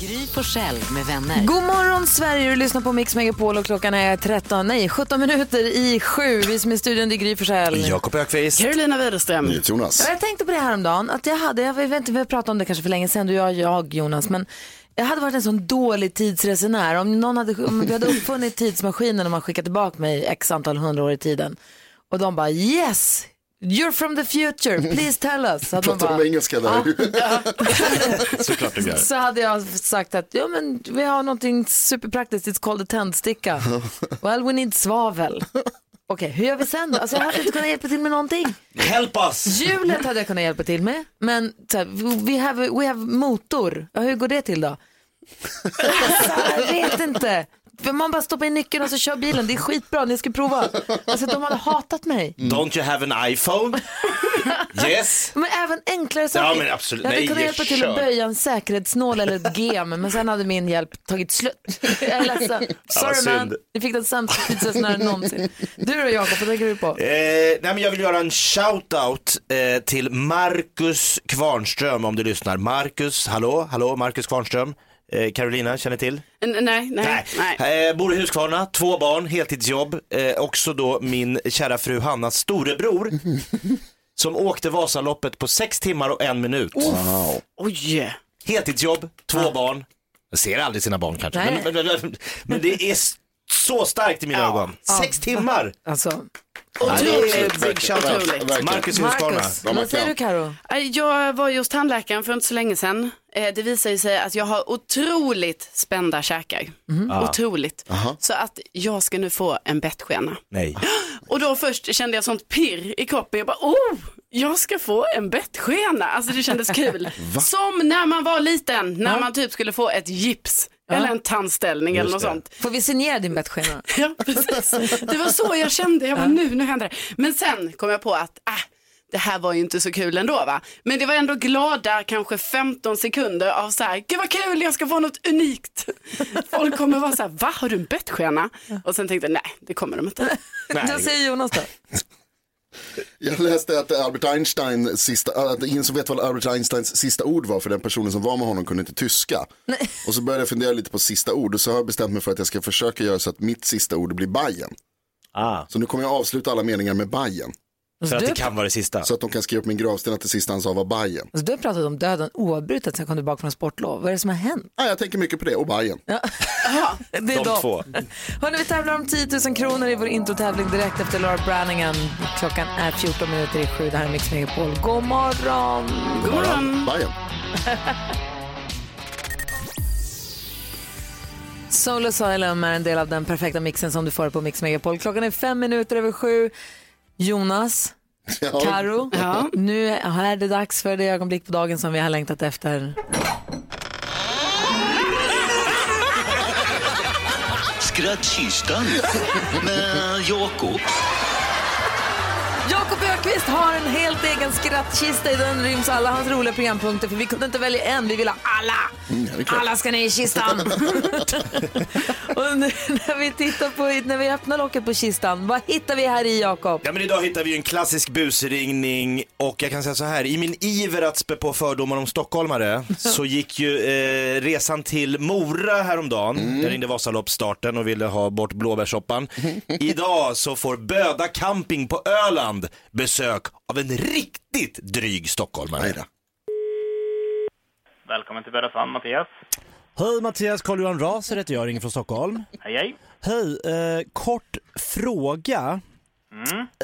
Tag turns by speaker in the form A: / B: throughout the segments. A: Gry Forssell med vänner.
B: God morgon Sverige, du lyssnar på Mix Megapol och klockan är 13, nej 17 minuter i sju. Vi som är i studion, det är Gry Forssell.
C: Jakob Ökvist.
D: Carolina Widerström.
B: Ja,
C: Jonas.
B: Jag tänkte på det här om dagen att jag hade, jag vet inte, vi har pratat om det kanske för länge sedan, du, jag, jag Jonas, men jag hade varit en sån dålig tidsresenär. Om, någon hade, om vi hade uppfunnit tidsmaskinen och man skickat tillbaka mig x antal hundra år i tiden och de bara yes, you're from the future, please tell us. Så hade man
E: Pratar de
B: bara,
E: engelska där?
C: Såklart du gör.
B: så hade jag sagt att ja, men vi har någonting superpraktiskt, it's called a tändsticka. Well, we need svavel. Okej, hur gör vi sen då? Alltså, jag hade inte kunnat hjälpa till med någonting.
F: Help us!
B: Hjulet hade jag kunnat hjälpa till med, men så här, we, have, we have motor. Ja, hur går det till då? Alltså, jag vet inte. För Man bara stoppar in nyckeln och så kör bilen. Det är skitbra, ni ska prova. Alltså, de hade hatat mig.
F: Don't you have an iPhone? yes.
B: Men även enklare saker.
F: Ja, men absolut.
B: Jag hade
F: Nej,
B: kunnat hjälpa till att
F: kör.
B: böja en säkerhetsnål eller ett gem, men sen hade min hjälp tagit slut. Jag är ledsen.
F: vad
B: Sorry man,
F: synd.
B: ni fick den sämsta tidsresenären någonsin. Du då Jakob, vad tänker du på?
F: Eh, nej men jag vill göra en shout-out eh, till Marcus Kvarnström om du lyssnar. Marcus, hallå, hallå, Marcus Kvarnström. Eh, Carolina känner till?
D: N- nej, nej, nej.
F: Eh, bor i Huskvarna, två barn, heltidsjobb. Eh, också då min kära fru Hannas storebror. som åkte Vasaloppet på sex timmar och en minut.
D: Oj.
F: Heltidsjobb, två barn. Jag ser aldrig sina barn kanske.
B: Nej.
F: Men, men, men, men det är s- så starkt i mina ögon. Sex timmar!
B: Alltså,
F: Otroligt.
D: det är
F: Big shout out. Marcus Huskvarna.
B: Marcus,
E: De har
B: vad säger du
E: knäppt.
B: Karo?
D: Eh, Jag var just tandläkaren för inte så länge sedan. Eh, Det visar ju sig att jag har otroligt spända käkar. Otroligt. Så att jag ska nu få en bettskena.
F: Nej.
D: Och då först kände jag sånt pirr i kroppen. Jag bara, oh, jag ska få en bettskena. Alltså det kändes kul. Som när man var liten, när man typ skulle få ett gips. Eller en tandställning eller något sånt.
B: Får vi signera din bettskena?
D: Ja, precis. Det var så jag kände. Jag bara, nu, nu händer det. Men sen kom jag på att, ah, det här var ju inte så kul ändå va. Men det var ändå glada kanske 15 sekunder av så här, gud vad kul, jag ska få något unikt. Folk kommer vara så här, va, har du en bettskena? Och sen tänkte jag, nej, det kommer de inte.
B: Vad säger Jonas då?
E: Jag läste att Albert Einstein sista, äh, att ingen som vet vad Albert Einsteins sista ord var för den personen som var med honom kunde inte tyska. Och så började jag fundera lite på sista ord och så har jag bestämt mig för att jag ska försöka göra så att mitt sista ord blir Bajen.
F: Ah,
E: Så nu kommer jag avsluta alla meningar med Bajen.
F: för att
B: Alltså, Du-
F: det kan vara det sista.
E: Så att de kan skriva upp min gravsten att det sista han sa var Bajen.
B: Alltså, du har pratat om döden oavbrutet sen kom du tillbaka från sportlov. Vad är det som har hänt?
E: Ja, jag tänker mycket på det och Bajen.
B: Det är
F: De två.
B: Hörrni, vi tävlar om 10 000 kronor i vår introtävling direkt efter Laura Branningen. Klockan är 14 minuter i sju. Det här är Mix Megapol. God morgon!
D: God morgon.
E: Bajen.
B: Soul Asylum är en del av den perfekta mixen som du får på Mix Megapol. Klockan är fem minuter över sju. Jonas,
E: Ja.
B: Karo,
D: Ja.
B: nu är det dags för det ögonblick på dagen som vi har längtat efter.
G: Skrattkistan med Jakob.
B: Jakob Ökvist har en helt egen skrattkista. I den ryms alla hans roliga programpunkter. För vi kunde inte välja en, vi ville ha alla.
F: Mm,
B: alla ska ner i kistan. och nu när vi tittar på, när vi öppnar locket på kistan, vad hittar vi här i Jakob?
F: Ja men idag hittar vi ju en klassisk busringning och jag kan säga så här, i min iver att spä på fördomar om stockholmare så gick ju eh, resan till Mora häromdagen. Jag ringde Vasaloppsstarten och ville ha bort blåbärssoppan. Idag så får Böda camping på Öland besök av en riktigt dryg stockholmare.
H: Välkommen till Bäddasand, Mattias.
I: Hej Mattias, Carl-Johan Raser heter jag, ringer från Stockholm.
H: Hej, hej.
I: Hej, eh, kort fråga.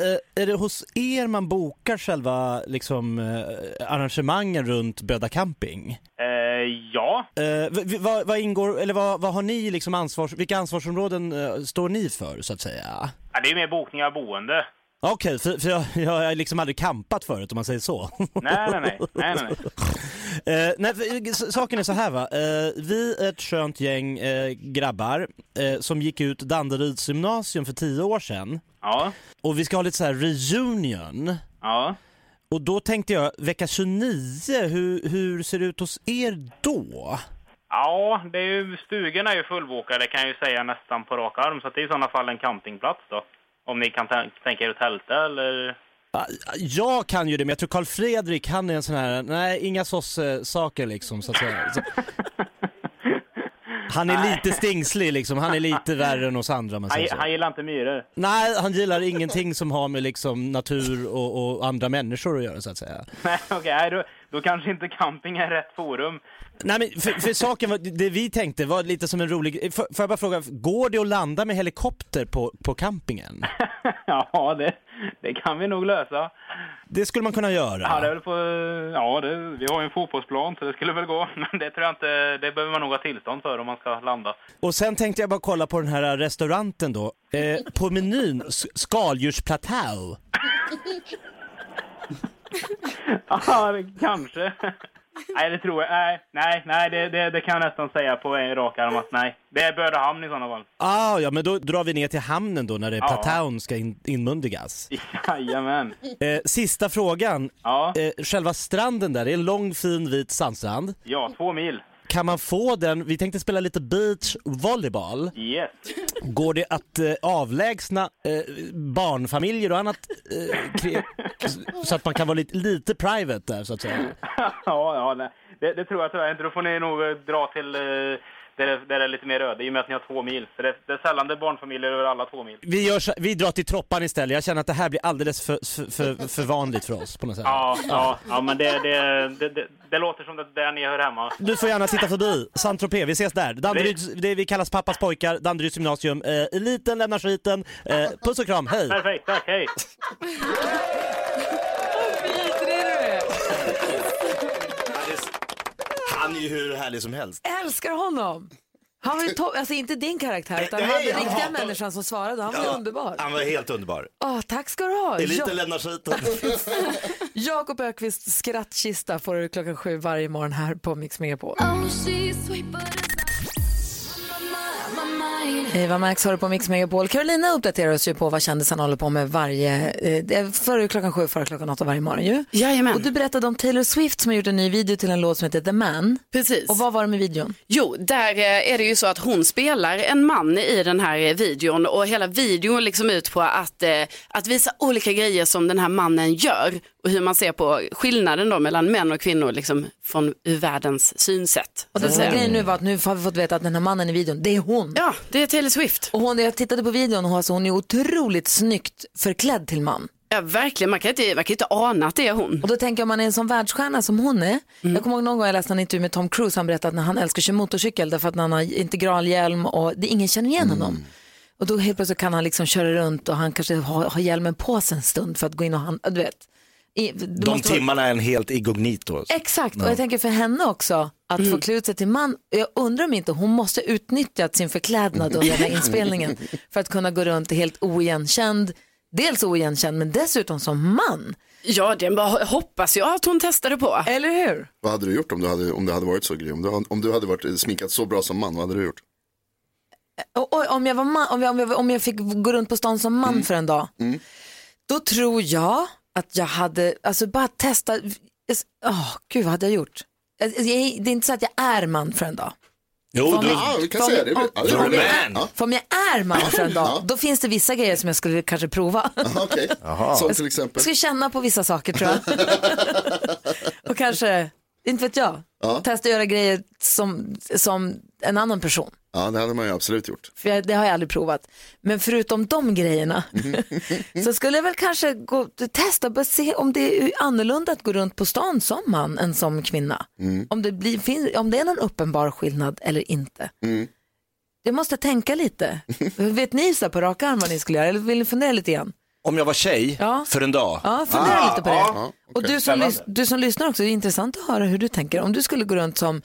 I: Eh, är det hos er man bokar själva liksom, eh, arrangemangen runt Böda camping?
H: Eh, ja,
I: Eh, v- v- vad, vad ingår, eller vad, vad har ni liksom ansvars, vilka ansvarsområden eh, står ni för så att säga?
H: Ja, det är ju mer bokningar av boende.
I: Okej, för, för jag, jag har liksom aldrig campat förut om man säger så.
H: Nej, nej, nej. nej, nej, nej.
I: Eh, nej, för, s- saken är så här va. Eh, vi är ett skönt gäng eh, grabbar eh, som gick ut Danderyds gymnasium för tio år sedan.
H: Ja,
I: Och vi ska ha lite så här reunion.
H: ja.
I: Och då tänkte jag, vecka 29, hur, hur ser det ut hos er då?
H: Ja, det är ju, stugan är ju fullbokade kan jag ju säga nästan på rak arm. Så att det är i sådana fall en campingplats då. Om ni kan tän- tänka er att tälta eller...
I: Ah, Jag kan ju det, men jag tror Karl Fredrik, han är en sån här, nej, inga saker liksom, så att säga. Så... Han är lite stingslig liksom, han är lite värre än oss andra om man
H: Han,
I: säger så.
H: han gillar inte myror.
I: Nej, han gillar ingenting som har med liksom natur och, och andra människor att göra så att säga.
H: Nej, okej, nej, då, då kanske inte camping är rätt forum.
I: Nej men för, för saken, var, det vi tänkte var lite som en rolig, får får jag bara fråga, går det att landa med helikopter på, på campingen?
H: Ja, det, det kan vi nog lösa.
I: Det skulle man kunna
H: Ja, det är
I: göra.
H: väl på, ja det, vi har ju en fotbollsplan så det skulle väl gå. Men det tror jag inte, det behöver man nog ha tillstånd för om man ska landa.
I: Och sen tänkte jag bara kolla på den här restauranten då. Eh, på menyn, s- skaldjursplatå.
H: Ja, det- kanske. Nej, det tror jag. Nej, nej, nej det, det, det kan jag nästan säga på en rak arm att nej. Det är Bödehamn i sådana fall.
I: Ah, ja, men då drar vi ner till hamnen då när det är
H: Ja.
I: plataun ska in, inmundigas.
H: Jajamän.
I: Eh, sista frågan.
H: Ja,
I: Eh, själva stranden där, det är en lång fin vit sandstrand.
H: ja, två mil.
I: Kan man få den, vi tänkte spela lite beachvolleyboll.
H: Yes.
I: Går det att eh, avlägsna eh, barnfamiljer och annat eh, kre- så att man kan vara lite, lite private där så att säga?
H: Ja, ja, nej. Det, det tror jag tyvärr inte. Då får ni nog eh, dra till eh, där det, där det är lite mer öde i och med att ni har två mil. Så det, det är sällan det är barnfamiljer över alla två mil.
I: Vi, gör så, vi drar till Troppan istället, jag känner att det här blir alldeles för, för, för, för vanligt för oss på något sätt.
H: Ja, ja, ja men det, det, det, det, det låter som det där ni hör hemma.
I: Du får gärna titta förbi, Saint-Tropez, vi ses där. Danderyds, det vi kallas pappas pojkar, Danderyds gymnasium. Eh, eliten lämnar skiten. Eh, puss och kram, hej!
H: Perfekt, tack, hej!
F: Han är ju hur härlig som helst.
B: Älskar honom! Han var ju to- alltså inte din karaktär utan
F: Nej,
B: han den
F: jag
B: riktiga
F: hatar-
B: människan som svarade. Han var underbar.
F: Han var helt underbar.
B: Åh, tack ska du ha.
F: Eliten
B: Ja-
F: lämnar skiten.
B: Jakob Ökvists skrattkista får du klockan sju varje morgon här på Mix Megapol. Eva Max har du på Mix Megapol. Carolina uppdaterar oss ju på vad kändisarna håller på med varje, eh, det är före klockan sju, före klockan åtta varje morgon ju.
D: Jajamän.
B: Och du berättade om Taylor Swift som har gjort en ny video till en låt som heter The Man.
D: Precis.
B: Och vad var det med videon?
D: Jo, där eh, är det ju så att hon spelar en man i den här eh, videon och hela videon liksom ut på att, eh, att visa olika grejer som den här mannen gör och hur man ser på skillnaden då mellan män och kvinnor liksom från världens synsätt.
B: Och
D: så
B: den
D: att
B: som var
D: säga.
B: grejen nu var att nu har vi fått veta att den här mannen i videon, det är hon.
D: Ja, det är Taylor Swift.
B: Och hon, jag tittade på videon och hon, alltså, hon är otroligt snyggt förklädd till man.
D: Ja, verkligen, man kan, inte, man kan inte ana att det är hon.
B: Och då tänker jag om man är en sån världsstjärna som hon är. Jag kommer ihåg någon gång jag läste en intervju med Tom Cruise. Han berättade att när han älskar att köra motorcykel därför att han har integralhjälm och det, ingen känner igen honom. Och då helt plötsligt kan han liksom köra runt och han kanske har, har hjälmen på sig en stund för att gå in och han, du vet. I, det
F: De
B: måste vara-
F: timmarna är en helt igognito.
B: Exakt, och jag tänker för henne också, att få klä ut sig till man. Jag undrar om inte hon måste utnyttjat sin förklädnad under den här inspelningen för att kunna gå runt helt oigenkänd. Dels oigenkänd, men dessutom som man.
D: Ja, det bara hoppas jag att hon testade på.
B: Eller hur?
E: Vad hade du gjort om du hade, om du hade varit så grym? Om du, om du hade varit eh, sminkad så bra som man, vad hade du gjort?
B: Och, och, om, jag var man, om, jag, om, jag, om jag fick gå runt på stan som man
E: Mm.
B: för en dag, då tror jag att jag hade, alltså bara testa, oh, gud vad hade jag gjort? Jag, jag, det är inte så att jag är man för en dag.
F: Jo, du,
E: Ja, vi kan
B: Fan,
E: säga det.
B: ja,
E: Ja, det
F: You're
E: är
F: a
E: bra.
F: man.
E: Ja,
B: För om jag är man för en dag,
E: Ja.
B: då finns det vissa grejer som jag skulle kanske prova.
E: Okej, som till exempel.
B: Jag skulle känna på vissa saker tror jag. och kanske, inte vet jag, testa att göra grejer som, som en annan person.
E: Ja, det hade man ju absolut gjort.
B: För jag, det har jag aldrig provat. Men förutom de grejerna så skulle jag väl kanske gå, testa och se om det är annorlunda att gå runt på stan som man än som kvinna. Om, det blir, fin- om det är någon uppenbar skillnad eller inte. Jag måste tänka lite. Vet ni så här på rak arm vad ni skulle göra? Eller vill ni fundera lite igen?
F: om jag var tjej
B: Ja.
F: för en dag.
B: Ja, fundera lite på det. Och du som,
F: Spännande.
B: lys- du som lyssnar också, det är intressant att höra hur du tänker. Om du skulle gå runt som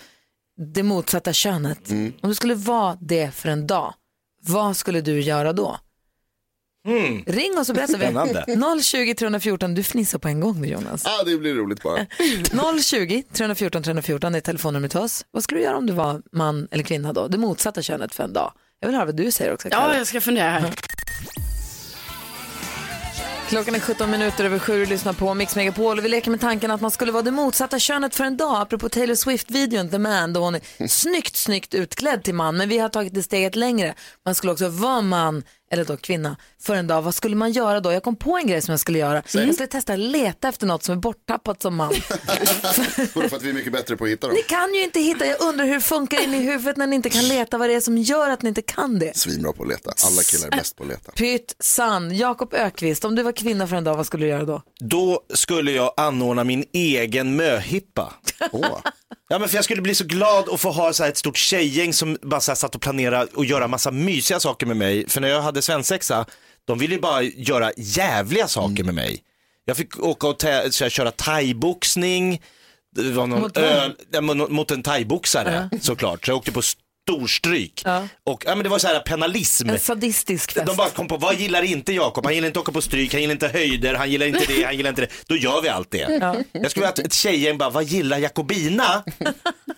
B: det motsatta könet, om du skulle vara det för en dag, vad skulle du göra då? Ring oss och berätta.
F: Spännande.
B: Vi- 020 314, du fnissar på en gång nu Jonas.
E: Ja, det blir roligt bara.
B: 020 314 314 är telefonnumret till oss. Vad skulle du göra om du var man eller kvinna då? Det motsatta könet för en Eh. dag. Jag vill höra vad du säger också. Karin.
D: Ja, jag ska fundera här.
B: Klockan är 17 minuter över sju och lyssnar på Mix Megapol. Och vi leker med tanken att man skulle vara det motsatta könet för en dag. Apropå Taylor Swift-videon, The Man, då hon är
F: Mm.
B: snyggt, snyggt utklädd till man. Men vi har tagit det steget längre. Man skulle också vara man, eller då kvinna, för en dag. Vad skulle man göra då? Jag kom på en grej som jag skulle göra. Jag skulle testa att leta efter något som är borttappat som man.
E: Bara för att vi är mycket bättre på att hitta dem.
B: Ni kan ju inte hitta, jag undrar hur det funkar in i huvudet när ni inte kan leta vad det är som gör att ni inte kan det.
E: Svinbra på att leta. Alla killar är bäst på att leta.
B: Pytt sann, Jakob Ökvist, om du var kvinna för en dag, vad skulle du göra då?
F: Då skulle jag anordna min egen möhippa.
E: Åh.
F: Ja, men för jag skulle bli så glad att få ha så här ett stort tjejgäng som bara så här satt och planerade och göra massa mysiga saker med mig. För när jag hade svensexa, de ville ju bara göra jävliga saker med mig. Jag fick åka och tä- så här, köra thaiboxning, det var någon
B: Mot
F: mot,
B: vem?
F: öl, ja, men mot en thaiboxare såklart. Så jag åkte på storstryk. Och ja, men det var så här penalism.
B: En sadistisk fest.
F: De bara kom på, vad gillar inte Jakob? Han gillar inte att åka på stryk, han gillar inte höjder, han gillar inte det, han gillar inte det. Då gör vi allt det. Jag skulle vilja att ett tjejgäng bara, vad gillar Jakobina?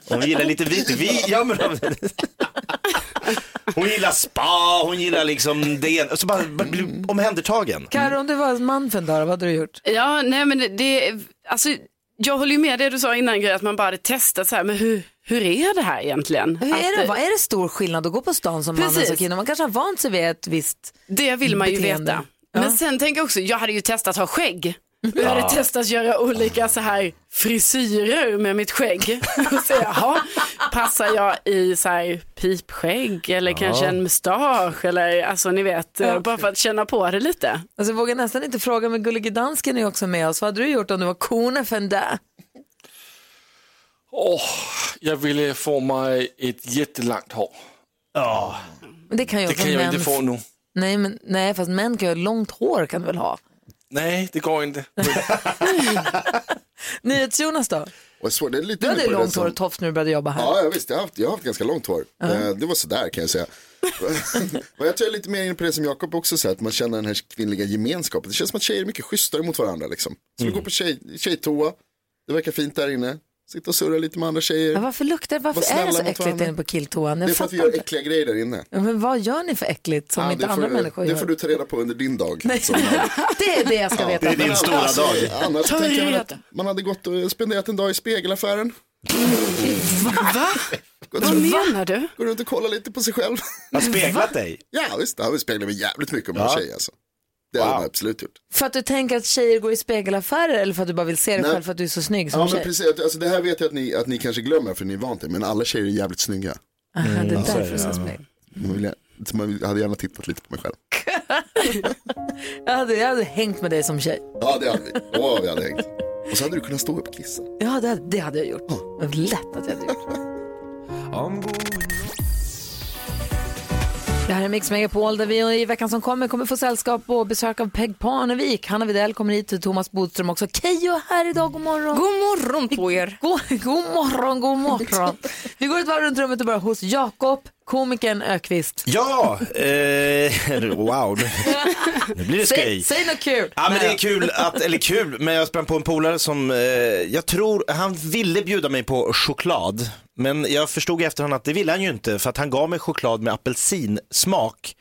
F: Hon gillar lite vit, vi, ja men Hon gillar spa, hon gillar liksom det, så bara, bara bli omhändertagen.
B: Karo, om du var en man för en dag, vad hade du gjort?
D: Ja, nej men det- det, alltså, jag håller ju med det du sa innan Gry, att man bara hade testat så här, men hur, hur är det här egentligen?
B: Hur
D: Att,
B: är det,
D: eh,
B: vad är det stor skillnad att gå på stan som man och
D: Precis.
B: som kvinna? Man kanske har vant sig vid ett visst...
D: Det vill man ju
B: beteende.
D: veta.
B: Ja.
D: Men sen tänker jag också, jag hade ju testat ha skägg. Jag hade testat göra olika så här frisyrer med mitt skägg. Och se, jaha, passar jag i så här pipskägg eller kanske en mustasch eller alltså ni vet, eh, bara för att känna på det lite.
B: Alltså, jag vågar nästan inte fråga, men Gullige Dansken är också med oss. Vad hade du gjort om du var kone för en dag?
J: Jag ville få mig ett jättelangt hår.
B: Men det kan ju
J: Det
B: också
J: kan jag
B: män-
J: inte få nu.
B: Nej, men, nej, fast män kan ju ha långt hår kan du väl ha?
J: Nej, det går inte.
B: NyhetsJonas då?
E: Och jag svår, det är lite
B: Du hade
E: inne
B: ju
E: på det
B: långt
E: som-
B: hår och tofs när du började jobba här.
E: Ja, ja visst, jag har, haft, jag har haft ganska långt hår. Eh, Det var sådär kan jag säga. Men jag tror jag är lite mer inne på det som Jakob också säger, att man känner den här kvinnliga gemenskapen. Det känns som att tjejer är mycket schysstare mot varandra liksom. Så
B: Mm.
E: vi går på tjej, tjejtoa, det verkar fint där inne, sitta och surra lite med andra tjejer.
B: Men varför luktar varför
E: Var
B: är det
E: snälla
B: så
E: mot
B: äckligt
E: varandra.
B: inne på killtoan?
E: det
B: Jag
E: är för att
B: fattar
E: vi gör
B: inte.
E: äckliga grejer där inne.
B: Ja, Men vad gör ni för äckligt som
E: Ja,
B: inte
E: det
B: andra
E: får,
B: människor
E: det
B: gör?
E: får du ta reda på under din dag. som-
B: Det är det jag ska veta.
F: Det är din stora dag.
E: Alltså, Annars
D: Ta
E: tänker jag väl
D: reda.
E: att man hade gått och spenderat en dag i spegelaffären.
D: Va?
E: Gått
D: Vad
E: runt,
D: menar du?
E: gå runt och kolla lite på sig själv.
F: Har speglat dig.
E: ja visst, det hade speglat mig jävligt mycket om jag var tjej alltså. Det hade man absolut gjort.
B: För att du tänker att tjejer går i spegelaffärer eller för att du bara vill se dig
E: Nej.
B: själv för att du är så snygg som
E: Ja men
B: tjej?
E: precis, alltså, det här vet jag att ni, att ni kanske glömmer för ni är vant vid, men alla tjejer är jävligt snygga.
B: Aha, Ah,
F: Mm,
B: det är därför du ska spegla.
E: Man, vill, så man vill- hade gärna tittat lite på mig själv.
B: Jag hade, jag hade hängt med dig som tjej.
E: Ja det hade vi, åh vi hade hängt. Och så hade du kunnat stå upp och kissa.
B: Ja, det, det hade jag gjort. Men Lätt att jag hade gjort. Det här är Mix Megapol där vi i veckan som kommer kommer få sällskap och besök av Peg Parnevik. Hanna Widell kommer hit och Thomas Bodström också. Keyyo är här idag, god morgon.
K: God morgon på er.
B: God, god morgon, god morgon. Vi går ett varv runt rummet och börjar hos Jakob, komikern Ökvist.
F: Ja, eh, wow. Nu blir det
B: Säg,
F: skoj.
B: säg något kul.
F: Ja men det är kul att, eller kul, men jag sprang på en polare som, eh, jag tror, han ville bjuda mig på choklad. Men jag förstod i efterhand att det ville han ju inte för att han gav mig choklad med apelsinsmak.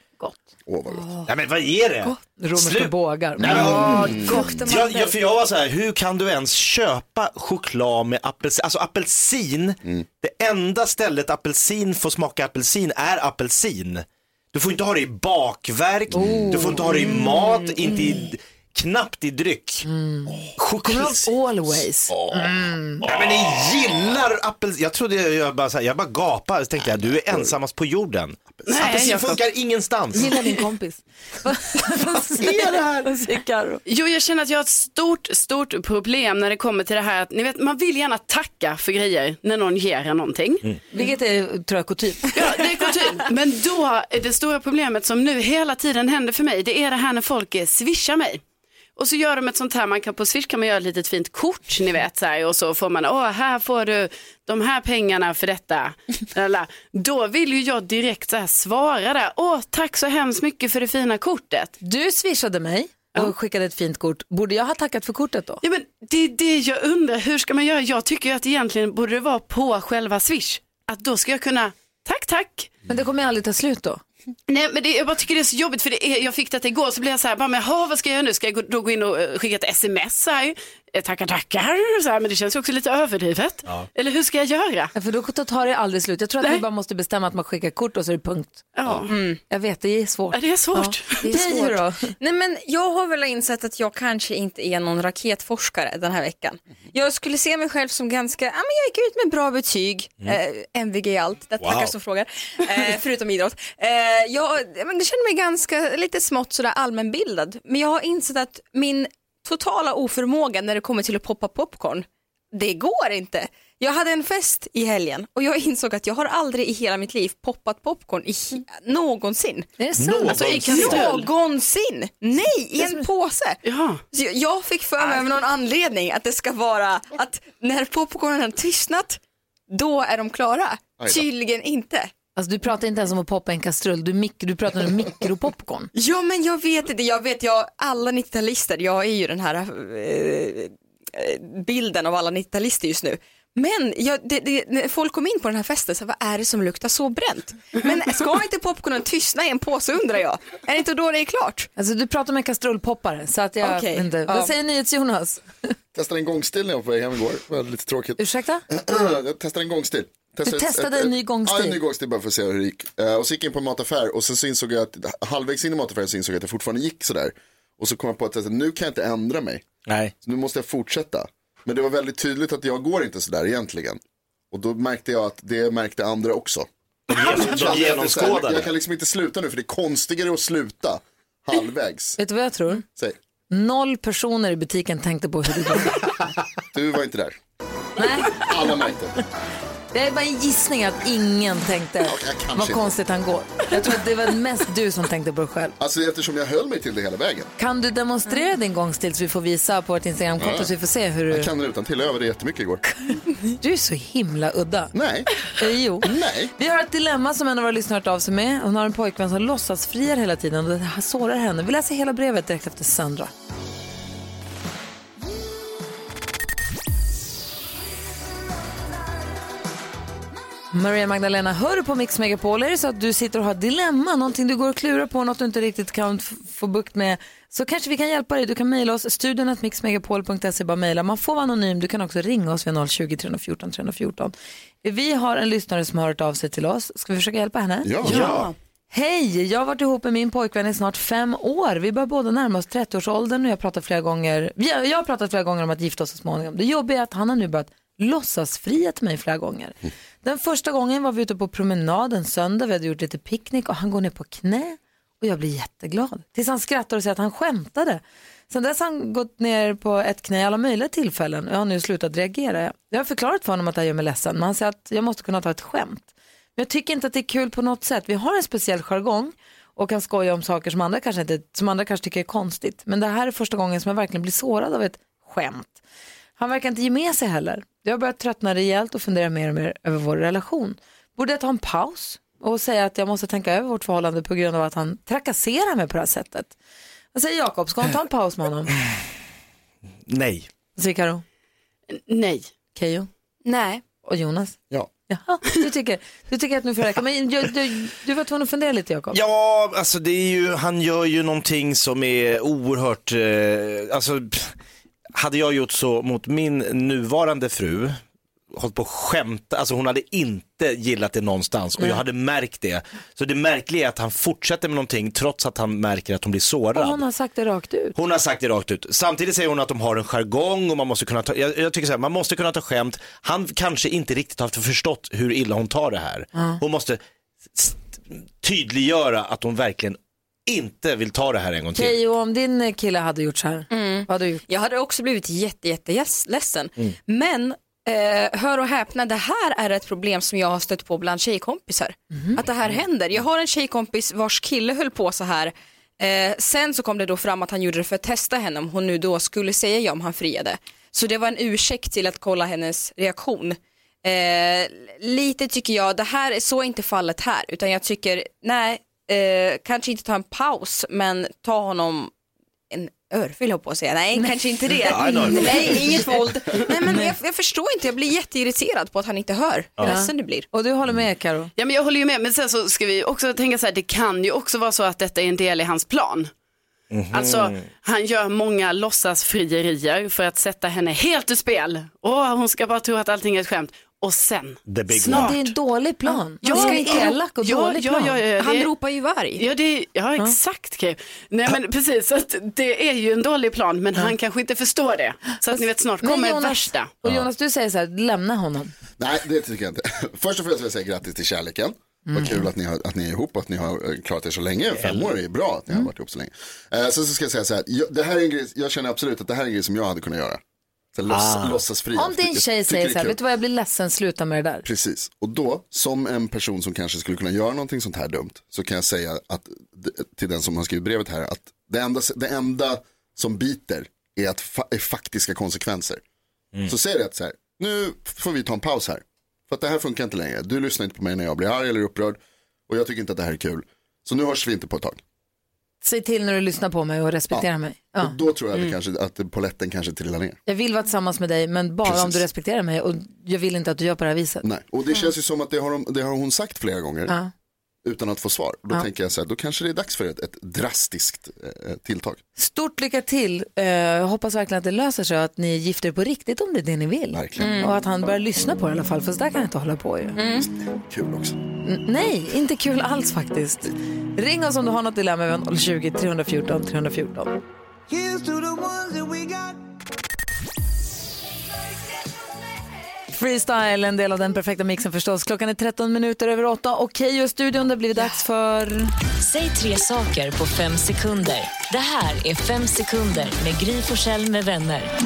E: Åh vad
D: Ah.
E: gott.
F: Ja men vad är det?
B: Romerska
F: Slut.
B: bågar. Mm.
K: Kokte man
F: Jag,
K: väl?
F: jag, Mm. för jag var så här, hur kan du ens köpa choklad med apelsin? Alltså apelsin,
E: Mm.
F: det enda stället apelsin får smaka apelsin är apelsin. Du får inte ha det i bakverk, du får inte ha det i mat, inte i, knappt i dryck.
B: Kommer
F: Choklad
B: du ihåg Always?
F: Nej, men ni gillar apelsin. Jag trodde jag, jag bara så här, jag bara gapade. Så tänkte jag, du är ensammast på jorden.
D: Nej,
F: Apelsin
D: jag
F: funkar ingenstans.
B: Gillar din kompis. Vad säger det här? Vad säger Karo?
D: Jo, jag känner att jag har ett stort, stort problem när det kommer till det här att ni vet, man vill gärna tacka för grejer när någon ger en någonting.
B: Vilket är tror jag kutym.
D: Ja, det är kutym. Men då, är det stora problemet som nu hela tiden händer för mig, det är det här när folk eh, swishar mig. Och så gör de ett sånt här, man kan, på Swish kan man göra ett litet fint kort, ni vet, så här, och så får man, åh, här får du de här pengarna för detta. Eller, då vill ju jag direkt så här svara där, åh, tack så hemskt mycket för det fina kortet.
B: Du swishade mig och skickade ett fint kort. Borde jag ha tackat för kortet då?
D: Ja, men det är det jag undrar, hur ska man göra? Jag tycker ju att egentligen borde det vara på själva Swish, att då ska jag kunna, tack, tack.
B: Men det kommer ju aldrig ta slut då.
D: Nej men det, jag bara tycker det är så jobbigt för det är, jag fick detta igår så blev jag så här, bara, men, "Jaha, vad ska jag göra nu? Ska jag gå, då gå in och eh, skicka ett sms så här? Eh, Tackar tackar, så här, men det känns ju också lite överdrivet. Eller hur ska jag göra?
B: För då tar det aldrig slut. Jag tror att vi bara måste bestämma att man skickar kort och så är det punkt.
D: Ja.
B: Mm. Jag vet, det är svårt.
D: Ja, det är svårt.
B: Ja, det är svårt. Då?
K: Nej, men jag har väl insett att jag kanske inte är någon raketforskare den här veckan. Jag skulle se mig själv som ganska, ja, men jag gick ut med bra betyg, eh, MVG i allt, det
A: Wow.
K: tackar som frågar, eh, förutom idrott. Eh, jag, ja, men jag känner mig ganska lite smått sådär allmänbildad, men jag har insett att min totala oförmåga när det kommer till att poppa popcorn, det går inte. Jag hade en fest i helgen och jag insåg att jag har aldrig i hela mitt liv poppat popcorn i, he- någonsin.
B: Är det sant? Alltså, i kastrull?
K: Någonsin! Nej, i en påse.
D: Ja.
K: Så jag- jag fick för mig av någon anledning att det ska vara att när popcornen har tystnat, då är de klara.
B: Aj då.
K: Tydligen inte.
B: Alltså, du pratar inte ens om att poppa en kastrull, du, mik- du pratar om mikropopcorn.
K: Ja men jag vet inte, jag vet, jag, alla 90-talister, jag är ju den här eh, eh, bilden av alla 90-talister just nu. Men jag, det, det, när folk kom in på den här festen, så här, vad är det som luktar så bränt? Men ska inte popcornen tystna i en påse undrar jag? Är det inte då det är klart?
B: Alltså, du pratar om en kastrullpoppare, så att jag
K: Okej,
B: inte...
K: ja.
B: Vad säger NyhetsJonas?
E: Testade en gångstil när jag var på väg hem igår. Det var lite tråkigt.
B: Ursäkta?
E: jag testade en gångstil. ett-
B: testade
E: ett- ett-
B: en ny gångstil?
E: Ja, en ny gångstil bara för att se hur det gick. Eh, och så gick jag in på en mataffär och sen så insåg jag att halvvägs in i mataffären så insåg jag att jag fortfarande gick sådär. Och så kom jag på att nu kan jag inte ändra mig.
F: Nej.
E: Så nu måste jag fortsätta. Men det var väldigt tydligt att jag går inte sådär egentligen. Och då märkte jag att det märkte andra också.
F: De genomskådade.
E: Jag kan liksom inte sluta nu för det är konstigare att sluta halvvägs.
B: Vet du vad jag tror?
E: Säg,
B: Noll personer i butiken tänkte på hur det går.
E: du var inte där.
B: Nej.
E: Alla märkte.
B: Det är bara en gissning att ingen tänkte vad
E: inte.
B: konstigt han går. Jag tror att det var mest du som tänkte på det själv.
E: Alltså eftersom jag höll mig till det hela vägen.
B: Kan du demonstrera din gångstil så vi får visa på vårt Instagramkonto så vi får se hur du...
E: Mm. Jag kan den utan till. Jag övade jättemycket igår.
B: Du är så himla udda. Eh,
E: Nej.
B: jo.
E: Nej.
B: Vi har ett dilemma som en av våra lyssnare har hört av sig med. Hon har en pojkvän som låtsas friar hela tiden och det här sårar henne. Vi läser hela brevet direkt efter Sandra. Maria Magdalena, hör du på Mix Megapol? Är det så att du sitter och har ett dilemma, någonting du går och klurar på, något du inte riktigt kan f- få bukt med, så kanske vi kan hjälpa dig. Du kan mejla oss, studion mixmegapol.se, bara mejla. Man får vara anonym, du kan också ringa oss vid 020-314 314. Vi har en lyssnare som har hört av sig till oss. Ska vi försöka hjälpa henne?
A: Ja. Ja.
B: Hej, jag har varit ihop med min pojkvän i snart fem år. Vi börjar båda närma oss 30-årsåldern och jag, pratar flera gånger, jag, jag har pratat flera gånger om att gifta oss så småningom. Det jobbiga är att han har nu börjat låtsasfria till mig flera gånger. Den första gången var vi ute på promenad en söndag, vi hade gjort lite picknick och han går ner på knä och jag blir jätteglad. Tills han skrattar och säger att han skämtade. Sen dess har han gått ner på ett knä i alla möjliga tillfällen och jag har nu slutat reagera. Jag har förklarat för honom att det här gör mig ledsen men han säger att jag måste kunna ta ett skämt. Men jag tycker inte att det är kul på något sätt. Vi har en speciell jargong och kan skoja om saker som andra kanske, inte, som andra kanske tycker är konstigt. Men det här är första gången som jag verkligen blir sårad av ett skämt. Han verkar inte ge med sig heller. Jag har börjat tröttna rejält och fundera mer och mer över vår relation. Borde jag ta en paus och säga att jag måste tänka över vårt förhållande på grund av att han trakasserar mig på det här sättet? Vad säger Jakob? Ska hon ta en paus med honom?
F: Nej.
B: Vad säger Karo?
D: Nej.
B: Keyyo?
K: Nej.
B: Och Jonas?
F: Ja.
B: Jaha, du tycker, du tycker att nu får det räcka. Men du, du, du var tvungen att fundera lite Jakob.
F: Ja, alltså det är ju, han gör ju någonting som är oerhört, eh, alltså pff, hade jag gjort så mot min nuvarande fru, hållit på att skämta, alltså hon hade inte gillat det någonstans och
L: Nej.
F: jag hade märkt det. Så det märkliga är att han fortsätter med någonting trots att han märker att hon blir
B: Och
F: sårad.
B: hon har sagt det rakt ut.
F: Hon har sagt det rakt ut. Samtidigt säger hon att de har en jargong och man måste kunna ta, jag, jag tycker så här, man måste kunna ta skämt. Han kanske inte riktigt har förstått hur illa hon tar det här.
B: Ja.
F: Hon måste s- tydliggöra att hon verkligen inte vill ta det här en gång till.
B: Keyyo, om din kille hade gjort så här,
D: Mm.
B: vad hade du gjort?
K: Jag hade också blivit jätte, jätte yes- ledsen.
B: Mm.
K: Men eh, hör och häpna, det här är ett problem som jag har stött på bland tjejkompisar. Att det här händer. Jag har en tjejkompis vars kille höll på så här. Eh, sen så kom det då fram att han gjorde det för att testa henne om hon nu då skulle säga ja om han friade. Så det var en ursäkt till att kolla hennes reaktion. Eh, lite tycker jag, det här, så är inte fallet här, utan jag tycker, nej, eh, kanske inte ta en paus, men ta honom en örfil höll på att säga. Nej, kanske inte det.
A: Ja, I know.
K: Nej, inget våld. Nej, men jag, jag förstår inte. Jag blir jätteirriterad på att han inte hör. Hur
D: Ja.
K: ledsen det blir.
B: Och du håller med Karo?
D: Ja men jag håller ju med, men sen så ska vi också tänka så här, det kan ju också vara så att detta är en del i hans plan. Alltså, han gör många låtsasfrierier för att sätta henne helt ur spel. Åh, hon ska bara tro att allting är ett skämt. Och sen,
B: Men
D: snart.
B: det är en dålig plan.
D: Ja,
B: Man ska
D: ja,
B: vara elak och
D: ja,
B: dålig
D: ja,
B: plan.
D: ja, ja, det-
K: ju varg.
D: Ja, det, ja exakt. Kay. Nej men precis, så att det är ju en dålig plan men han kanske inte förstår det. Så att ni vet snart
B: Men
D: kommer
B: Jonas-
D: värsta.
B: Och Jonas, du säger så här, lämna honom.
E: Nej, det tycker jag inte. Först och främst vill jag säga grattis till kärleken.
B: Mm.
E: Vad kul att ni, har, att ni är ihop och att ni har eh, klarat er så länge. Fem år är ju bra att ni har varit ihop så länge. Eh, sen så ska jag säga så här, jag, det här är en grej, jag känner absolut att det här är en grej som jag hade kunnat göra. Så här, låts,
B: Ah.
E: Låtsasfria.
B: Om din
E: Jag
B: tjej
E: tycker
B: säger
E: det är
B: så här,
E: kul.
B: vet du vad jag blir ledsen, sluta med det där.
E: Precis, och då som en person som kanske skulle kunna göra någonting sånt här dumt så kan jag säga att, d- till den som har skrivit brevet här att det enda, det enda som biter är, att fa- är faktiska konsekvenser. Så säg det att så här, nu får vi ta en paus här. För att det här funkar inte längre. Du lyssnar inte på mig när jag blir arg eller upprörd och jag tycker inte att det här är kul. Så nu hörs vi inte på ett tag.
B: Säg till när du lyssnar på mig och respektera
E: Ja.
B: mig. Ja.
E: Och då tror jag
B: Mm.
E: att, det kanske, att det- poletten kanske trillar ner.
B: Jag vill vara tillsammans med dig, men bara om
E: Precis.
B: du respekterar mig och jag vill inte att du gör på det här viset.
E: Nej. Och det känns ju som att det har, de, det har hon sagt flera gånger.
B: Ja.
E: utan att få svar. Då
B: Ja.
E: tänker jag så här, då kanske det är dags för ett, ett drastiskt eh, tilltag.
B: Stort lycka till. Eh, jag hoppas verkligen att det löser sig och att ni gifter er på riktigt om det är det ni vill. Mm.
E: Verkligen.
B: Och att han börjar lyssna på det i alla fall, för så där kan jag inte hålla på ju.
E: Kul också.
B: N- Nej, inte kul alls faktiskt. Ring oss om du har något dilemma, vi har 020 314 314. Freestyle, en del av den perfekta mixen förstås. Klockan är 13 minuter över 8 och Keyyo i studion, det har blivit dags för...
A: Säg tre saker på fem sekunder. Det här är fem sekunder med Gry Forssell med vänner.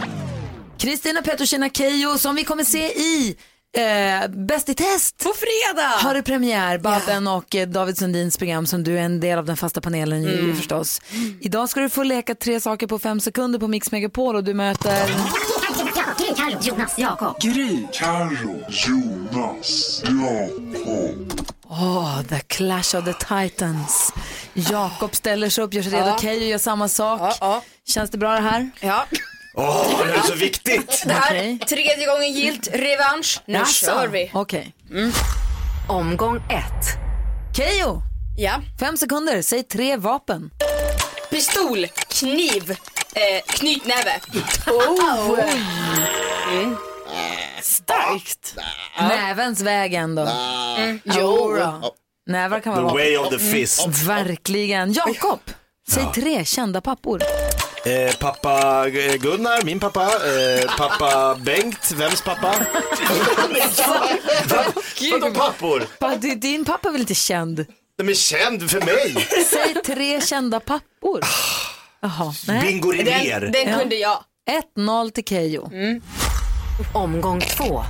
B: Kristina Petrushina Keyyo som vi kommer se i eh, Bäst i test. På fredag! Har du premiär, Babben och eh, David Sundins program som du är en del av den fasta panelen i
A: Mm.
B: förstås. Idag ska du få leka tre saker på fem sekunder på Mix Megapol och du möter...
L: Gry, Carro, Jonas, Jakob.
B: Gry.
L: Carro, Jonas, Jakob.
B: Åh, The Clash of the Titans. Jakob ställer sig upp, gör sig redo.
K: Ja.
B: Keyyo gör samma sak. Känns det bra det här?
K: Ja.
F: Åh, det är så viktigt!
K: Det här, tredje gången gilt, revansch. Nu
B: Jaså?
K: kör vi.
B: Okej. Omgång ett. Keyyo!
K: Ja.
B: Fem sekunder, säg tre vapen.
K: Pistol, kniv, eh, knytnäve. Oh. Mm.
D: Starkt!
B: Nävens väg ändå. Eh,
K: Mm.
B: Jo då. Nävar kan vara
F: The way
B: vapen.
F: of the fist.
B: Mm. Verkligen. Jakob, säg tre kända pappor.
F: Eh, pappa eh, Gunnar, min pappa. Eh, pappa Bengt, vems pappa? Vadå pappor?
B: Pa- di- Din pappa är väl inte känd?
F: De är känd för mig.
B: Säg tre kända pappor.
F: Ah.
B: Jaha, nej.
F: Bingo Rimér. Den- den kunde
B: jag. 1-0 till Keyyo. Omgång två.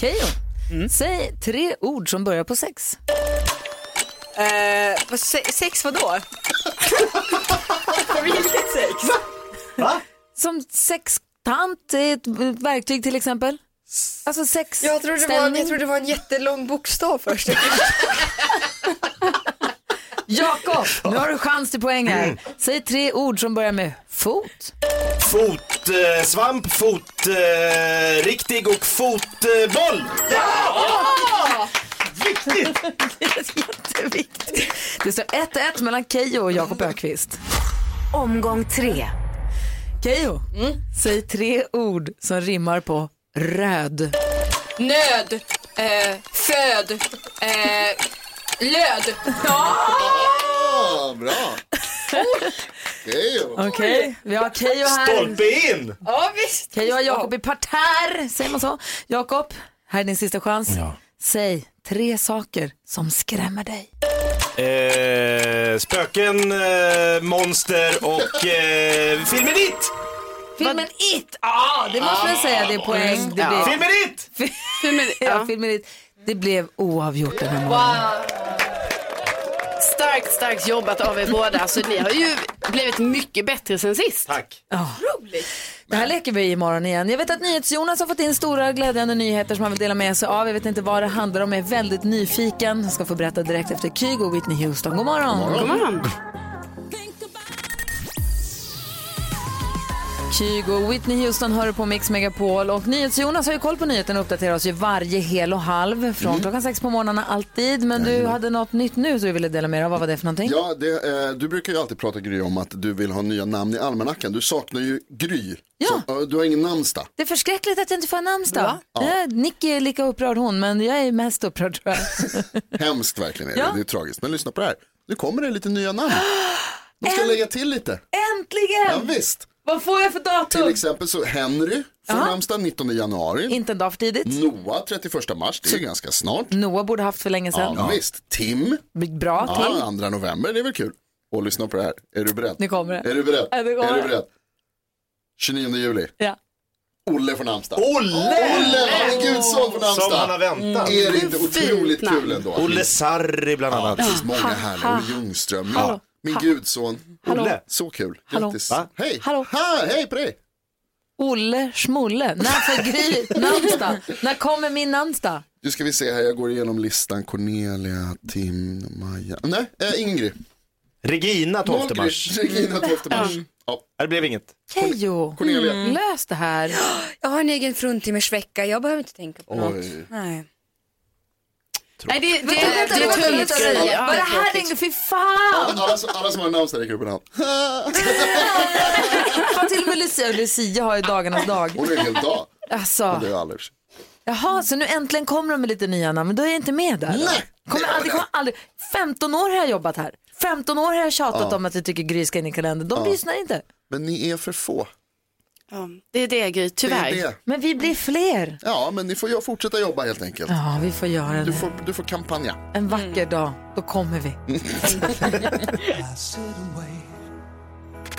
B: Keyyo, säg tre ord som börjar på sex.
K: Eh, vad se- sex vadå? Vilket sex?
B: Va? Som sextant är ett verktyg till exempel. Alltså sex
K: Jag trodde, det var, jag trodde det var en jättelång bokstav först.
B: Jakob, nu har du chans till poäng här. Säg tre ord som börjar med fot.
F: Fotsvamp, eh, svamp, fot, eh, riktig och fotboll. Viktigt!
B: Jätteviktigt. Det står 1-1 mellan Keyyo och Jakob Ökvist. Omgång tre. Keyyo,
K: Mm.
B: säg tre ord som rimmar på röd.
K: Nöd, eh, föd, eh, löd.
E: Ja, bra. Okej.
B: Okej, vi har Keyyo här.
F: Stolpe in!
K: Ja, visst.
B: Keyyo har Jakob i parterre, säger man så? Jakob, här är din sista chans. Säg tre saker som skrämmer dig.
F: Eh, spöken, eh, monster och eh, filmen It!
B: Filmen It! Ja, det måste jag säga. Det är poäng. Det
F: Ja.
B: blev...
F: Filmen It!
B: filmen, ja, filmen It. Det blev oavgjort den här morgonen.
D: Wow. Starkt, starkt jobbat av er båda. Så ni har ju blivit mycket bättre sen sist.
F: Tack.
B: Det här leker vi imorgon igen. Jag vet att NyhetsJonas har fått in stora glädjande nyheter som han vill dela med sig av. Jag vet inte vad det handlar om, jag är väldigt nyfiken. Jag ska få berätta direkt efter Kygo och Whitney Houston. God morgon!
D: God morgon.
B: Kygo. Whitney Houston hör på Mix Megapol och NyhetsJonas har ju koll på nyheterna och uppdaterar oss ju varje hel och halv från
E: Mm.
B: klockan sex på morgnarna alltid. Men du hade något nytt nu som du ville dela med dig av. Vad var det för någonting?
E: Ja, det, eh, du brukar ju alltid prata Gry om att du vill ha nya namn i almanackan. Du saknar ju Gry. Ja. Så, eh, du har ingen namnsdag.
B: Det är förskräckligt att jag inte får namnsdag.
E: Ja.
B: Ja. Eh, Nicky är lika upprörd hon, men jag är mest upprörd tror jag.
E: Hemskt verkligen är det.
B: Ja.
E: Det är tragiskt. Men lyssna på det här. Nu kommer det lite nya namn. De ska lägga till lite. Ja,
B: Äntligen!
E: visst.
B: Vad får jag för datum?
E: Till exempel så Henry får namnsdag 19 januari.
B: Inte en dag för tidigt.
E: Noah 31 mars, det är ganska snart.
B: Noah borde haft för länge sedan.
E: Ja, visst. Tim.
B: Bra, Tim.
E: ja, 2 Ah, november, det är väl kul. Och lyssna på det här. Är du beredd?
B: Nu kommer det.
E: Är du beredd?
B: Ja, nu kommer
E: är du
B: det.
E: beredd? 29 juli.
B: Ja.
E: Olle får namnsdag.
F: Olle!
E: Arne Gudsson får namnsdag.
F: Som han har väntat.
E: Mm. Är det inte
F: Fint
E: otroligt
F: namn.
E: kul ändå?
F: Olle Sarri bland annat.
E: Ja, precis. Många
F: Ha,
E: härliga.
F: ha.
E: Olle Ljungström.
F: Hallå.
E: Min
B: Ha.
E: gudson.
B: Hallå.
E: Olle. Så kul.
B: Hallå.
E: Grattis.
B: Va?
E: Hej.
B: Hallå.
E: Ha, hej på dig.
B: Olle Schmolle. När får Gry namnsdag? När kommer min namnsdag?
E: Nu ska vi se här, jag går igenom listan. Cornelia, Tim, Maja. Nej, äh, Ingrid.
F: Regina 12 mars.
E: Regina 12 mars.
B: Mm.
E: Ja.
F: Det blev inget.
B: Kejo,
F: Cornelia.
B: lös det här.
K: Jag har en egen fruntimmersvecka, jag behöver inte tänka på något.
F: Oj.
K: Nej.
D: Nej, det,
B: Vänta, vänta,
D: det är
B: vänta,
D: tungt,
B: vänta,
D: Gry.
B: vänta.
D: Ja,
B: Var
D: det
B: det
D: är
B: här
D: tråkigt.
B: ingen... Fy
E: Alla,
B: fan!
E: alla, som- alla som har namnsdag räcker upp en hand.
B: Fan, till och med Lucia, och Lucia har ju dagarnas dag.
E: Hon är en hel dag.
B: Alltså.
E: Men Det är jag aldrig.
B: Jaha, så nu äntligen kommer de med lite nya namn, men då är jag inte med där. Nej, kommer aldrig, kommer aldrig. 15 år har jag jobbat här. 15 år har jag tjatat
E: Ja.
B: om att jag tycker Gry ska in i kalendern. De
E: Ja.
B: lyssnar inte.
E: Men ni är för få.
D: Ja, det är det Gry, tyvärr.
E: Det är det.
B: Men vi blir fler.
E: Ja, men ni får ju fortsätta jobba helt enkelt.
B: Ja, vi får göra det.
E: Du får, Mm. du får kampanja.
B: En vacker dag, då kommer vi.
L: I sit and wait.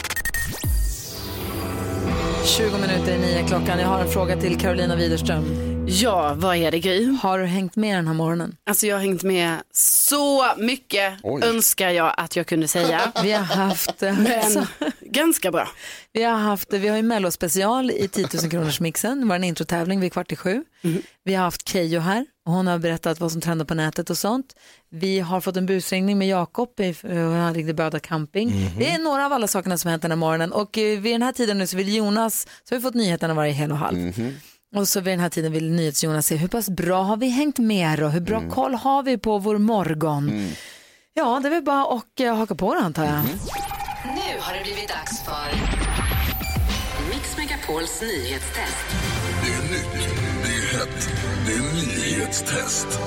B: 20 minuter i nio klockan. Jag har en fråga till Carolina Widerström.
D: Ja, vad är det Gry?
B: Har du hängt med den här morgonen?
D: Alltså jag har hängt med så mycket
B: Oj.
D: önskar jag att jag kunde säga.
B: Vi har haft eh,
D: Men ganska bra.
B: Vi har haft, vi har ju mellospecial i 10 000 kronors mixen, vår introtävling vid kvart i sju. Vi har haft Keyyo här och hon har berättat vad som trendar på nätet och sånt. Vi har fått en busringning med Jakob, i- eh, han ringde Böda camping. Det är några av alla sakerna som har hänt den här morgonen och eh, vid den här tiden nu så vill Jonas, så har vi fått nyheterna varje hel och halv. Och så vid den här tiden vill NyhetsJonas se hur pass bra har vi hängt med och hur bra koll har vi på vår morgon. Ja, det är väl bara att eh, haka på det antar jag.
M: Nu har det blivit dags för Mix Megapols nyhetstest.
L: Det är nytt, det är hett, det är nyhetstest.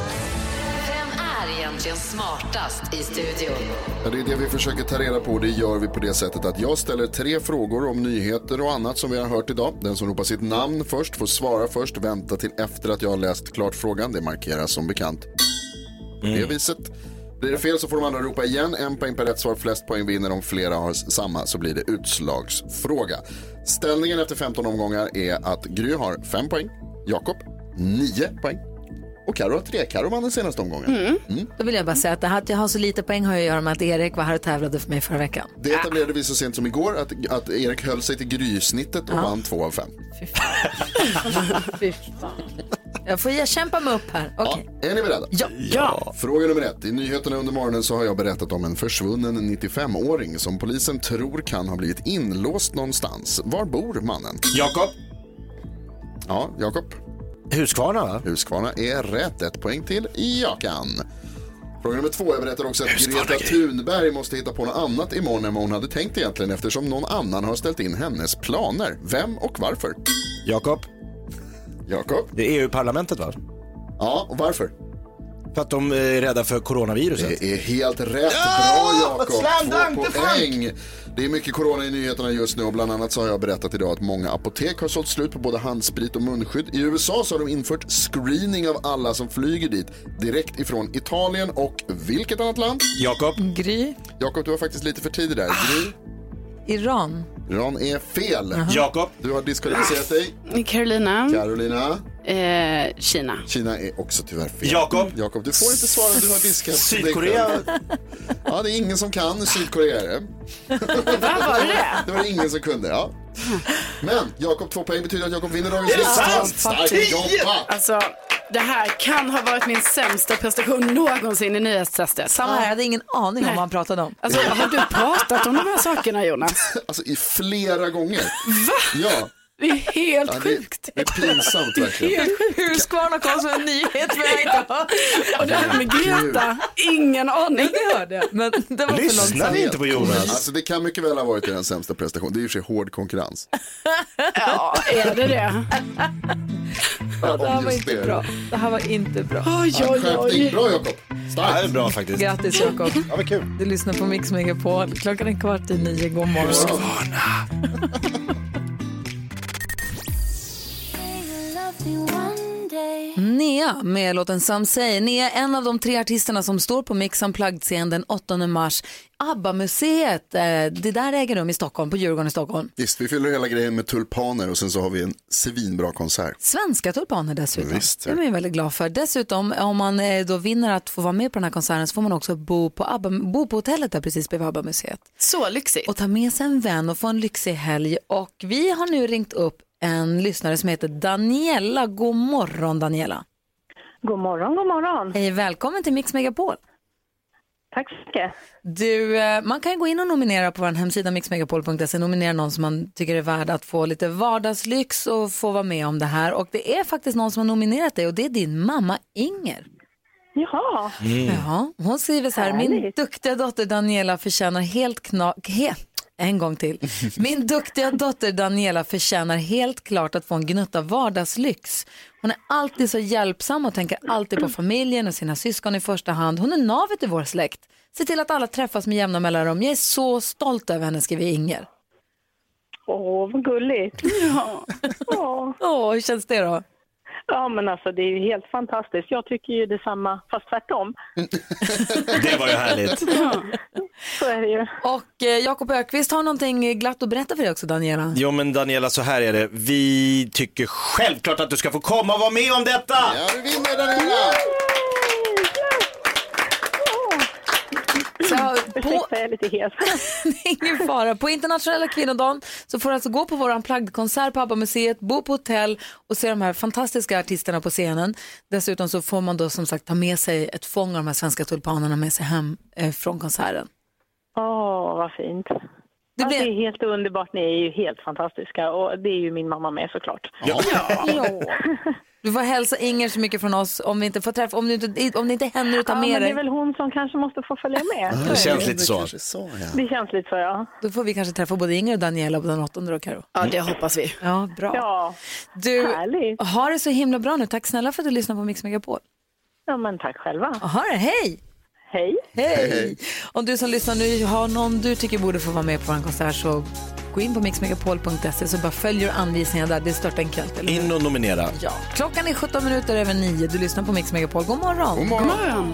M: Vem är egentligen smartast i studion?
E: Ja, det är det vi försöker ta reda på. Det gör vi på det sättet att jag ställer tre frågor om nyheter och annat som vi har hört idag. Den som ropar sitt namn först får svara först, vänta till efter att jag har läst klart frågan. Det markeras som bekant på det viset. Blir det fel så får de andra ropa igen. En poäng per rätt svar, flest poäng vinner. Om flera har samma så blir det utslagsfråga. Ställningen efter 15 omgångar är att Gry har 5 poäng, Jakob 9 poäng och Karo har 3. Karo vann den senaste omgången. Mm.
B: Då vill jag bara säga att det här att jag har så lite poäng har ju att göra med att Erik var här och tävlade för mig förra veckan.
E: Det etablerade vi så sent som igår att, att Erik höll sig till grysnittet och
B: Ja.
E: vann två av fem.
B: Ah, Fy fan. Jag får jag kämpa mig upp här. Okej.
E: Är ni beredda?
B: Ja.
E: Fråga nummer ett. I nyheterna under morgonen så har jag berättat om en försvunnen 95-åring som polisen tror kan ha blivit inlåst någonstans. Var bor mannen?
F: Jakob.
E: Ja, Jakob.
F: Huskvarna va?
E: Huskvarna är rätt. Ett poäng till Jakan. Fråga nummer två. Jag berättar också att
F: Huskvarna,
E: Greta
F: Gry.
E: Thunberg måste hitta på något annat imorgon än vad hon hade tänkt egentligen eftersom någon annan har ställt in hennes planer. Vem och varför?
F: Jakob.
E: Jakob.
F: Det är EU-parlamentet va?
E: Ja, och varför?
F: För att de eh, är rädda för coronaviruset.
E: Det är helt rätt. Bra Jakob, två poäng. Det är mycket corona i nyheterna just nu och bland annat så har jag berättat idag att många apotek har sålt slut på både handsprit och munskydd. I USA så har de infört screening av alla som flyger dit direkt ifrån Italien och vilket annat land?
F: Jakob.
E: Mm.
B: Gry.
E: Jakob, du var faktiskt lite för tidig där. Gry,
B: Iran.
E: Iran är fel.
B: Jaha.
F: Jakob.
E: Du har diskvalificerat dig.
D: Carolina,
E: Carolina.
D: eh, Kina.
E: Kina är också tyvärr fel.
F: Jakob.
E: Jakob, du får inte svara du har diskat.
F: Sydkorea.
E: Ja, det är ingen som kan Sydkorea. är det.
D: var det det?
E: Det var det ingen som kunde, ja. Men Jakob, två poäng betyder att Jakob vinner dagens
D: Är det
E: lista.
D: sant?
E: Starkt
D: Tio!
E: jobbat!
D: Alltså, Det här kan ha varit min sämsta prestation någonsin i nyhetstestet.
B: Samma här, Ah, jag hade ingen aning om vad han pratade om.
D: Alltså, har du pratat om de här sakerna Jonas?
E: Alltså i flera gånger.
D: Va?
E: Ja.
D: Det är helt
E: Ja, det,
D: sjukt.
E: det är pinsamt verkligen.
B: Huskvarna kom som en nyhet för mig idag.
D: Och det här med Greta, ingen aning.
B: Det hörde jag. Men det var för långsamt.
E: Alltså, det kan mycket väl ha varit den sämsta prestationen. Det är i och för sig hård konkurrens.
D: Ja, är det det?
B: Ja, det här
E: Om
B: var
E: just
B: inte
E: det.
B: bra. Det här var inte bra.
D: Oj, oj, oj.
E: Bra Jakob.
F: Ja, det är bra faktiskt.
B: Grattis Jakob. Ja,
F: vad kul.
B: Du lyssnar på Mix Megapol. Klockan är kvart i nio. God morgon.
F: Husqvarna.
B: Nea med låten Some Say. Nea är en av de tre artisterna som står på Mix Unplugged-scen den 8 mars. ABBA-museet, eh, det där äger rum i Stockholm, på Djurgården i Stockholm.
E: Visst, vi fyller hela grejen med tulpaner och sen så har vi en svinbra konsert.
B: Svenska tulpaner dessutom.
E: Visst.
B: det är man ju väldigt glad för. Dessutom, om man eh, då vinner att få vara med på den här konserten så får man också bo på, ABBA, bo på hotellet där precis bredvid ABBA-museet.
D: Så lyxigt.
B: Och ta med sig en vän och få en lyxig helg. Och vi har nu ringt upp en lyssnare som heter Daniela. God morgon Daniela.
N: God morgon, god morgon.
B: Hej, välkommen till Mix Megapol.
N: Tack så mycket.
B: Du, eh, man kan gå in och nominera på vår hemsida mixmegapol.se, nominera någon som man tycker är värd att få lite vardagslyx och få vara med om det här. Och det är faktiskt någon som har nominerat dig och det är din mamma Inger.
N: Jaha.
B: Jaha, hon skriver så här, min
N: Härligt.
B: duktiga dotter Daniela förtjänar helt knak... He. En gång till. Min duktiga dotter Daniela förtjänar helt klart att få en gnutta vardagslyx. Hon är alltid så hjälpsam och tänker alltid på familjen och sina syskon i första hand. Hon är navet i vår släkt. Se till att alla träffas med jämna mellanrum. Jag är så stolt över henne, skriver Inger.
N: Åh, vad gulligt. Ja. Åh.
B: hur känns det då?
N: Ja, men alltså det är ju helt fantastiskt. Jag tycker ju detsamma, fast tvärtom.
F: Det var ju härligt.
N: Så är det ju.
B: Och eh, Jakob Ökvist har någonting glatt att berätta för dig också, Daniela.
F: Jo men Daniela, så här är det. Vi tycker självklart att du ska få komma och vara med om detta!
E: Ja, du vinner Daniela!
B: Så, på,
N: Ursäkta, jag är lite hes.
B: Det är ingen fara. På internationella kvinnodagen så får du alltså gå på vår Unplugged-konsert på ABBA-museet, bo på hotell och se de här fantastiska artisterna på scenen. Dessutom så får man då som sagt ta med sig ett fång av de här svenska tulpanerna med sig hem eh, från konserten.
N: Åh, vad fint. Det, ja, det är helt underbart. Ni är ju helt fantastiska. Och det är ju min mamma med såklart.
B: Ja. Du får hälsa Inger så mycket från oss om vi inte får träffa, om du inte, om det inte händer att ta
N: Ja,
B: med
N: men det
B: dig.
N: är väl hon som kanske måste få följa med.
F: Det känns lite så.
N: Det känns lite så, ja.
B: Då får vi kanske träffa både Inger och Daniela på den åttonde då, Karo.
D: Ja, det hoppas vi.
B: Ja, bra.
N: Ja,
B: Du, har det så himla bra nu. Tack snälla för att du lyssnade på Mix Megapol.
N: Ja, men tack själva.
B: Aha, hej!
N: Hej!
B: Hej! Om du som lyssnar nu har någon du tycker borde få vara med på en konsert så gå in på mixmegapol.se så bara följer anvisningarna där. Det är störtenkelt. Eller?
F: In och nominera.
B: Ja. Klockan är 17 minuter över 9. Du lyssnar på Mix Megapol. God morgon!
F: God morgon. God morgon.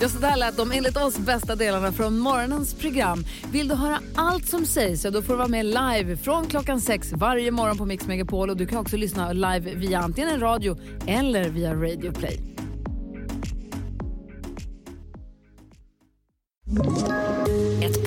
B: Ja, så där lät de enligt oss bästa delarna från morgonens program. Vill du höra allt som sägs så då får du vara med live från klockan sex varje morgon på Mix Megapol. Och du kan också lyssna live via antingen radio eller via Radio Play.
A: Ett